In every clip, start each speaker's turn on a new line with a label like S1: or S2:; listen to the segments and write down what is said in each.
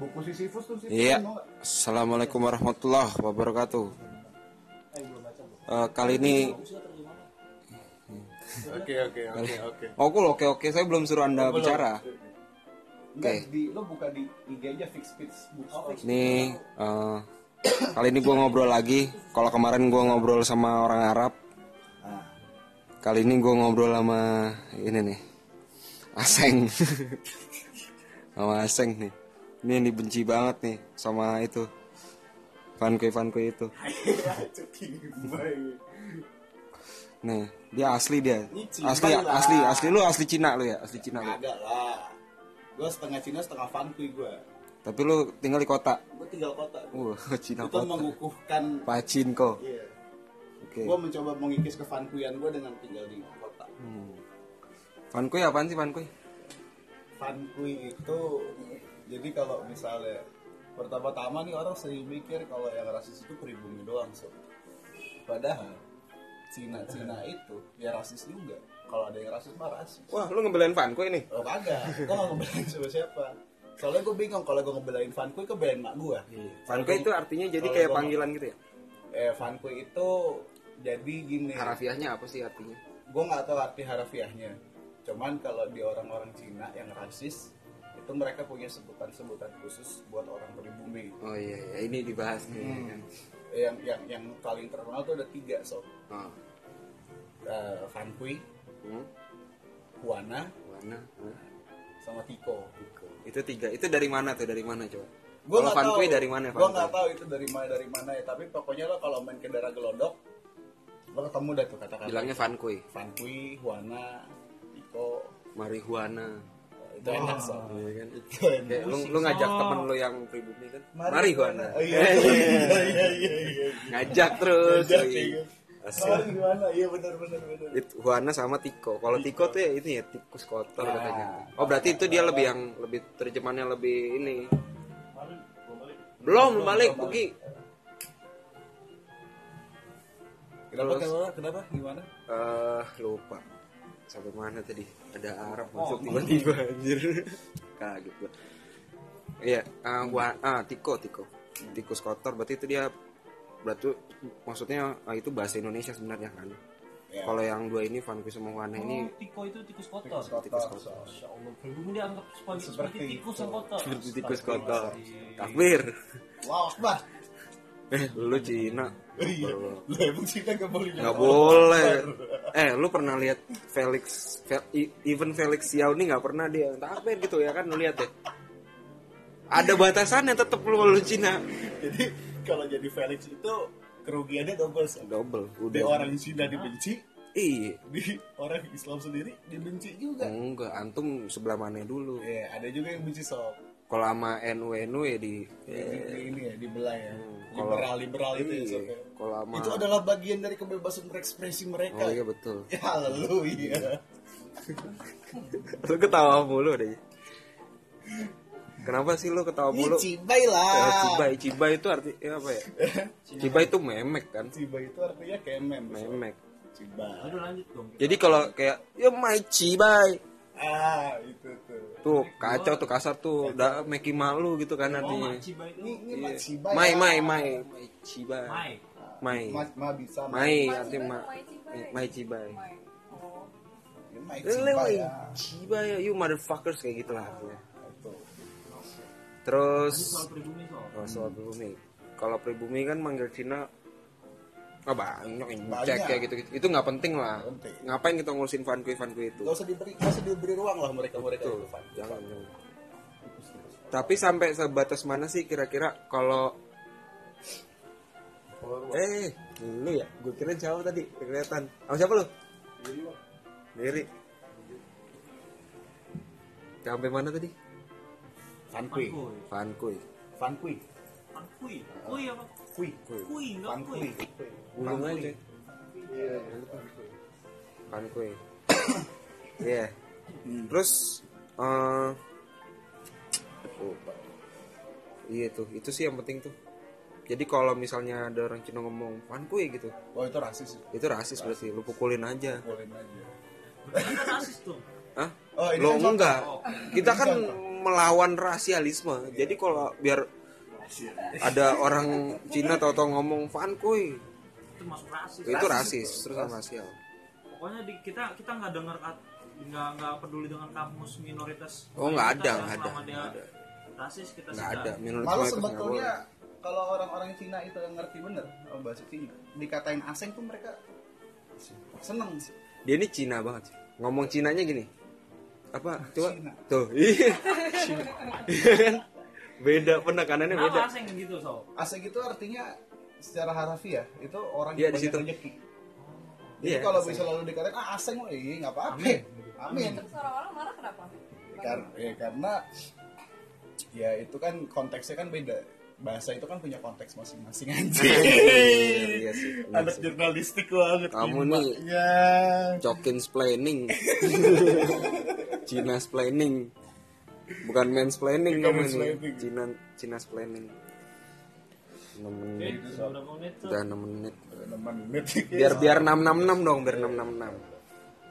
S1: buku Sisyphus tuh Sisyphus
S2: Iya.
S1: tau nggak?
S2: Assalamualaikum warahmatullahi wabarakatuh. Eh, kali ini
S1: oke oke oke oke Oh,
S2: Oh, cool, oke oke saya belum suruh Anda bicara.
S1: Nggak, di lo buka di IG aja fix fix book store.
S2: Nih eh, kali ini gua ngobrol lagi. Kalau kemarin gua ngobrol sama orang Arab,
S1: Nah,
S2: kali ini gua ngobrol sama ini nih. Aseng. sama Aseng nih. Ini yang dibenci banget nih sama itu. Fanke-fanke itu.
S1: Iya,
S2: Nih, Nah, dia asli dia.
S3: Ini Cina
S2: Asli
S3: lah.
S2: asli asli lu asli Cina lu ya, asli Cina lu.
S3: Agak lah. Gue setengah Cina setengah Vankui gue.
S2: Tapi lu tinggal di kota.
S3: Gue tinggal kota.
S2: Wah,
S3: itu
S2: Cina kota.
S3: mengukuhkan.
S2: Pacin kok.
S3: Iya.
S2: Oke.
S3: Gue mencoba mengikis kevankuian gue dengan tinggal di kota.
S2: Fankui ya, apaan sih Fankui?
S3: Vankui itu jadi kalau misalnya pertama-tama nih orang sering mikir kalau yang rasis itu pribumi doang so. Padahal Cina-Cina itu ya rasis juga. Kalau ada yang rasis mah rasis.
S2: Wah, lu ngebelain Fankui nih.
S3: Oh kagak, gue gak ngebelain siapa siapa Soalnya gue bingung kalau gue ngebelain Vankui, kebelain mak gue
S2: Fankui Iya. itu artinya
S3: Iya,
S2: jadi
S3: Kalau
S2: kayak
S3: gua-
S2: panggilan gitu ya.
S3: Eh Vankui itu jadi gini
S2: Harafiahnya apa sih artinya?
S3: Gue gak tahu arti harafiahnya Cuman kalau di orang-orang Cina yang rasis Itu mereka punya sebutan-sebutan khusus buat orang pribumi
S2: Oh iya, iya. ini dibahas nih. kan.
S3: Yang yang yang paling terkenal tuh ada tiga sob
S2: Oh.
S3: Eh, Vankui,
S2: Hmm.
S3: Huana,
S2: Warna. Hah?
S3: sama Tiko
S2: Itu tiga. Itu dari mana tuh? Dari mana coba?
S3: Gua
S2: Kalau
S3: nggak
S2: Fankui
S3: tahu.
S2: dari mana
S3: Gua nggak
S2: Fankui?
S3: tahu itu dari mana dari mana ya. Tapi pokoknya lo kalau main ke daerah Gelodok, lo ketemu dah tuh kata-kata.
S2: Bilangnya Fankui.
S3: Fankui, Huana, Iko.
S2: Marihuana.
S3: Nah, Itu enak so.
S2: Iya kan?
S3: Itu enak.
S2: Kayak lu, lu ngajak temen lu yang pribumi kan? Marihuana.
S3: Oh, iya iya iya iya. iya.
S2: Ngajak terus.
S3: Ngajak,
S2: Wih.
S3: iya.
S2: Asik.
S3: Marihuana, iya benar benar benar.
S2: It- Huana sama Tiko. Kalau Tiko tuh ya itu ya tikus kotor
S3: Nah.
S2: katanya. Oh berarti itu dia lebih yang lebih terjemahannya lebih ini. Belum balik Bugi.
S3: Kenapa
S2: Terus.
S3: kenapa kenapa gimana?
S2: Eh lupa. Sampai mana tadi? Ada Arab
S3: Oh,
S2: masuk
S3: iya.
S2: tiba-tiba anjir. Kaget gua. Iya, eh, Hua- ah Tiko, Tiko. Tikus kotor berarti itu dia berarti maksudnya eh, itu bahasa Indonesia sebenarnya kan.
S3: Iya.
S2: Kalau yang dua ini Vanku sama Huana Nah, ini
S4: Oh, tiko itu tikus kotor.
S3: Oh, Kotor. so.
S4: Masya Allah, pribumi dianggap sebagai
S3: Seperti
S4: seperti tikus yang kotor.
S2: seperti tikus kotor. Takbir.
S3: Wow, bah.
S2: Eh, lu Cina.
S3: Iya. Lah, emang Cina nggak boleh.
S2: Nggak boleh. Eh, lu pernah lihat Felix Fe- I- even Felix Xiaoni nggak pernah dia takbir gitu ya kan lu lihat deh. Ada batasannya tetap lu lu Cina.
S3: Jadi kalau jadi Felix itu kerugiannya double. so.
S2: Double.
S3: Di
S2: Udah
S3: orang Cina dibenci,
S2: Ih,
S3: di orang Islam sendiri dibenci juga.
S2: enggak antum sebelah mana dulu.
S3: Iya, ada juga yang benci sob.
S2: Kalau sama NU NU ya di
S3: Di- di- ini ya, dibelah ya.
S2: Hmm, kalau-
S3: Liberal liberal itu ya
S2: Iya,
S3: sob. ya.
S2: kalau sama
S3: Itu adalah bagian dari kebebasan berekspresi mereka.
S2: Oh iya betul.
S3: Ya lalu iya.
S2: lu ketawa mulu deh. Kenapa sih lu ketawa
S3: Ini
S2: mulu?
S3: cibai
S2: Eh,
S3: lah.
S2: cibai, cibai itu arti ya apa ya? Cibai itu memek kan?
S3: Cibai itu artinya kemem. sob.
S2: Memek.
S3: Cibai.
S4: Aduh lanjut dong.
S2: Jadi kalau kayak ya my cibai
S3: Ah, itu tuh.
S2: tuh kacau tuh kasar tuh udah meki malu gitu kan
S4: Oh,
S2: nantinya.
S4: Maciba itu.
S3: Ini ini mah cibai.
S2: Mai
S3: lah.
S2: mai mai mai cibai.
S4: Mai.
S2: Mai.
S3: Iya. Ma, ma bisa. ma.
S2: Mai artinya ma, mai cibai.
S3: Ini mah
S2: Lele
S3: cibai ya.
S2: cibai you motherfuckers kayak gitu lah.
S3: Itu.
S2: ya.
S4: Ini
S2: Terus
S4: soal pribumi soal.
S2: oh, soal pribumi. Kalau pribumi kan manggil Cina Oh, banyak yang
S3: Banyak.
S2: cek ya gitu, gitu. Itu nggak penting lah.
S3: Penting.
S2: Ngapain kita ngurusin fankui fankui itu?
S3: Gak usah diberi, gak usah diberi ruang lah mereka mereka itu.
S2: Betul.
S3: Fan.
S2: Jangan, jangan. Tapi sampai sebatas mana sih kira-kira kalau eh lu ya? Gue kira jauh tadi nggak kelihatan. Sama siapa lu? Diri. Sampai mana tadi? ya?
S3: Fankui.
S4: Kui.
S2: Fankui.
S3: Fankui.
S4: Kui. Kui apa?
S3: Kui.
S4: Kui enggak kui.
S3: Fankui.
S2: Ulung aja. iya. Fankui. Iya.
S3: Hmm.
S2: Terus eh lupa. Iya tuh, itu sih yang penting tuh. Jadi kalau misalnya ada orang Cina ngomong fankui gitu,
S3: Oh itu rasis sih.
S2: itu rasis berarti lu pukulin aja.
S3: Boleh aja.
S4: Anda rasis dong.
S2: Hah?
S3: Oh, ini kan
S2: Lo
S3: contoh. Iya.
S2: enggak. Kita kan melawan rasialisme. Jadi kalau biar ada orang Cina tahu-tahu ngomong fan kui,
S4: itu masuk rasis
S2: itu rasis, terus rasial.
S4: pokoknya di, kita kita nggak dengar kat- nggak nggak peduli dengan kamus minoritas
S2: Oh, nggak ada,
S4: mayoritas ya,
S2: nggak ada,
S4: selama dia
S2: nggak ada.
S4: rasis kita
S2: Nggak
S4: sita.
S2: ada menurut
S3: Malah
S2: gue itu nggak boleh.
S3: sebetulnya kalau orang-orang Cina itu yang ngerti bener oh, bahasa Cina, dikatain asing tuh mereka seneng sih.
S2: Dia ini Cina banget. sih. Ngomong Cinanya gini. Apa? Coba.
S3: Cina.
S2: Tuh. Iya. Iya kan? Beda penekanannya
S4: Kenapa
S2: beda.
S4: asing gitu so
S3: Asing itu artinya secara harafiah itu orang
S2: Iya,
S3: yang
S2: di
S3: banyak
S2: situ.
S3: rezeki. Jadi
S2: Iya.
S3: kalau bisa lalu dikatain ah asing oh, iya nggak apa-apa. Amin.
S5: Terus orang-orang marah kenapa?
S3: Karena, ya, karena ya itu kan konteksnya kan beda. Bahasa itu kan punya konteks masing-masing
S2: Iya,
S3: anjing.
S2: iya sih, bener
S3: Anak
S2: sih.
S3: jurnalistik banget
S2: Kamu
S3: Bima.
S2: nih.
S3: Ya.
S2: Jokin splaining. Cina splaining. Bukan mansplaining
S3: Bukan
S2: namanya.
S3: mansplaining.
S2: Cina Cina splaining. 6 menit.
S4: Jadi, beberapa menit tuh
S2: Udah 6 menit.
S3: Teman
S2: Biar biar 666 dong, biar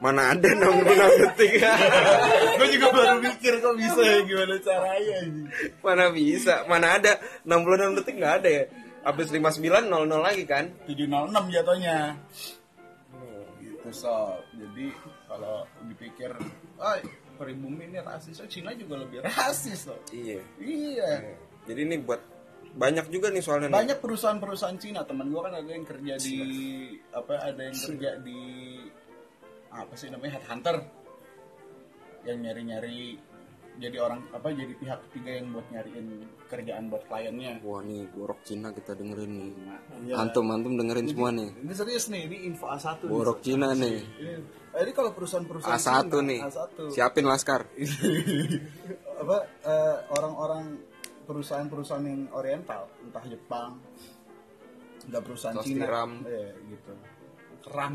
S2: 666. Mana ada 666 detik.
S3: gue juga baru mikir kok bisa ya gimana caranya ini.
S2: Mana bisa? Mana ada 66 detik nggak ada ya? Habis 59 00 lagi kan?
S3: 706 jatuhnya. Gitu sob. Jadi kalau dipikir, ah pribumi ini rasis, oh, Cina juga lebih rasis loh.
S2: Iya.
S3: Iya.
S2: Jadi ini buat banyak juga nih soalnya nih.
S3: Banyak perusahaan-perusahaan Cina, teman gua kan ada yang kerja di apa ada yang kerja di apa sih namanya headhunter yang nyari-nyari jadi orang apa jadi pihak ketiga yang buat nyariin kerjaan buat kliennya
S2: Wah nih borok Cina kita dengerin nih.
S3: Iya.
S2: Antum-antum dengerin semua nih.
S3: Ini serius nih, ini info A1 nih,
S2: Borok
S3: Sob.
S2: Cina nih.
S3: Iya. Jadi kalau perusahaan-perusahaan
S2: A1
S4: kan?
S3: Cina,
S2: nih.
S3: A1.
S2: Siapin laskar.
S3: Apa eh, orang-orang perusahaan-perusahaan yang oriental, entah Jepang, entah perusahaan
S2: Terus
S3: Cina,
S2: tiram.
S3: eh, gitu. Keram.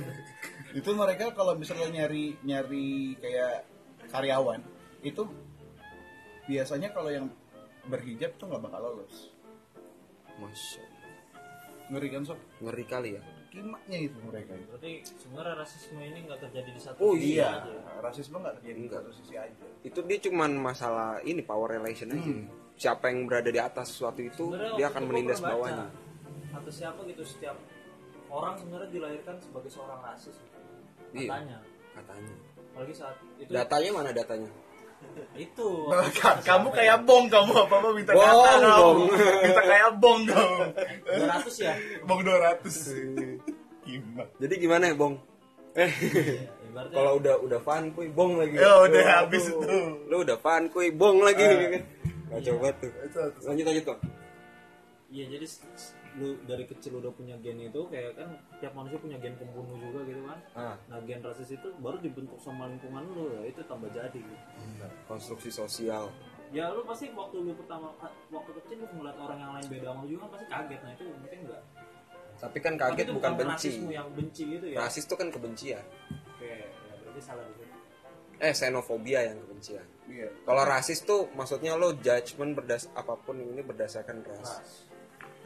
S3: itu mereka kalau misalnya nyari nyari kayak karyawan, itu biasanya kalau yang berhijab tuh nggak bakal lolos.
S2: Masya Allah.
S3: Ngeri kan sob?
S2: Ngeri kali ya.
S3: Kimaknya itu mereka.
S4: berarti sebenarnya rasisme ini nggak terjadi di satu
S2: Oh,
S4: sisi
S2: iya.
S4: aja. ya?
S3: rasisme nggak terjadi di
S2: Enggak.
S3: satu sisi aja.
S2: Itu dia cuman masalah ini power relation aja. Siapa yang berada di atas sesuatu itu
S4: Hmm. Sebenarnya
S2: dia
S4: waktu
S2: akan
S4: itu gua
S2: menindas
S4: pernah baca,
S2: bawahnya.
S4: atau siapa gitu setiap orang sebenarnya dilahirkan sebagai seorang rasis gitu.
S2: Iya.
S4: katanya
S2: Katanya.
S4: apalagi saat itu
S2: Datanya mana datanya?
S4: itu
S3: kamu kayak bong kamu apa apa minta
S2: Bong,
S3: data kamu.
S2: bong.
S3: minta kayak bong kamu
S4: 200 ya
S3: bong 200 gimana
S2: Jadi gimana ya, Bong?
S4: Iya, ibaratnya
S2: Kalau udah udah fan kuy, bong lagi.
S3: Ya, udah
S2: Aduh,
S3: habis itu.
S2: Lu udah fan kuy, bong lagi.
S3: Eh.
S2: Nah, coba tuh. Lanjut lanjut, Bang.
S4: Iya jadi s- s- lu dari kecil udah punya gen itu kayak kan tiap manusia punya gen pembunuh juga gitu kan.
S2: Ah.
S4: Nah gen rasis itu baru dibentuk sama lingkungan lu ya itu tambah jadi. Gitu.
S2: Konstruksi sosial.
S4: Ya lu pasti waktu lu pertama ah, waktu kecil lu ngeliat orang yang lain beda sama lu juga kan pasti kaget nah itu mungkin enggak.
S2: Tapi kan
S4: Tapi
S2: kaget
S4: itu
S2: bukan benci.
S4: rasismu yang benci gitu ya.
S2: Rasis itu kan kebencian.
S4: Oke ya berarti salah gitu.
S2: Eh, xenofobia yang kebencian.
S3: iya
S2: Kalau rasis tuh maksudnya lo judgement berdas apapun ini berdasarkan ras.
S4: Ras.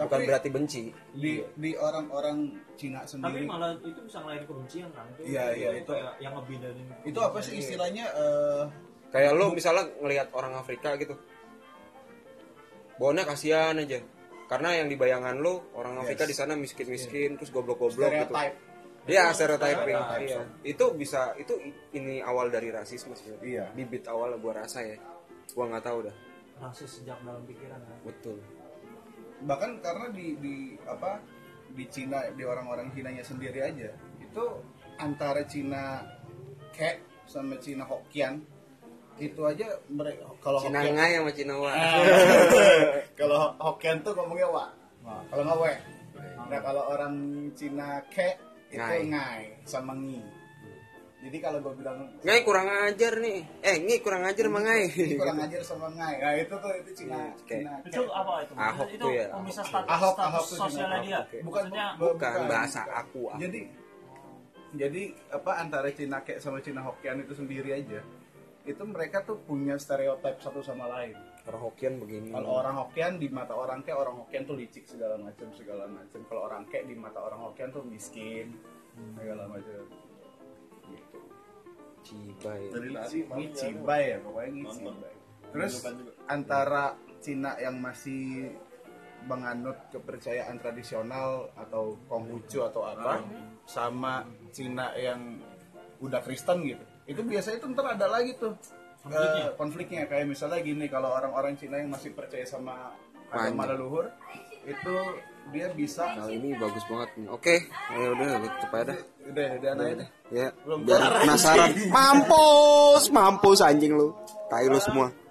S2: Bukan
S3: Tapi-
S2: berarti benci.
S3: di di orang-orang Cina
S4: Tapi
S3: sendiri
S4: malah itu bisa ngelain kebencian kan. Itu-
S3: Iya, iya, itu-
S4: kayak yang ngebedain.
S3: itu apa sih istilahnya eh,
S2: Kayak lo misalnya ngelihat orang Afrika gitu. Bawahnya kasihan aja. Karena yang dibayangan lo orang Afrika di sana miskin-miskin terus goblok-goblok gitu.
S3: stereotype
S2: Iya, stereotyping. Iya. Itu bisa itu i- ini awal dari rasisme sebenarnya.
S3: Iya.
S2: Bibit awal gua rasa ya. Gua nggak tahu dah.
S4: rasis sejak dalam pikiran kan.
S2: Betul.
S3: bahkan karena di di apa di Cina di orang-orang Cinanya sendiri aja itu antara Cina Cat sama Cina Hokkien itu aja mereka kalau
S2: Cina
S3: Hokkien-
S2: ngai sama Cina wa.
S3: Ah. kalau Hokkien tuh ngomongnya wa. Kalau nggak we. Nah kalau orang Cina ke itu
S2: Ngai.
S3: ngai sama ngi. Jadi kalau gue bilang
S2: Ngai kurang ajar nih. Eh, ngi kurang ajar sama ngai.
S3: ini kurang ajar sama ngai. Nah itu tuh itu Cina
S2: Iya, ke.
S3: Cina ke.
S4: itu apa itu?
S2: Ahok
S4: itu
S2: tuh ya,
S4: pemisah
S2: Ahok.
S4: status,
S3: Ahok,
S4: status
S3: Ahok tuh
S4: sosialnya
S3: Cina,
S4: dia.
S2: Ahok, oke.
S3: Bukan,
S4: Maksudnya
S3: bu-
S2: Bukan bahasa aku. aku.
S3: Jadi jadi apa antara Cina ke sama Cina Hokkien itu sendiri aja itu mereka tuh punya stereotip satu sama lain.
S2: orang Hokkien begini.
S3: Kalau orang Hokkien di mata orang kayak orang Hokkien tuh licik segala macam segala macam. Kalau orang kayak di mata orang Hokkien tuh miskin segala macam. Gitu.
S2: Cibai.
S3: Dari tadi ngicibai ya pokoknya ngicibai. Terus antara Cina yang masih menganut kepercayaan tradisional atau Konghucu atau apa sama Cina yang udah Kristen gitu. Itu biasanya itu ntar ada lagi tuh konfliknya, konfliknya. kayak misalnya gini kalau orang-orang Cina yang masih percaya sama agama
S2: Panjang.
S3: leluhur itu dia bisa
S2: Kali ini bagus banget nih. Oke, ya udah cepet aja dah.
S3: udah udah naik deh
S2: Ya,
S3: Belum
S2: biar penasaran. Mampus, mampus anjing lu. Tai lu semua.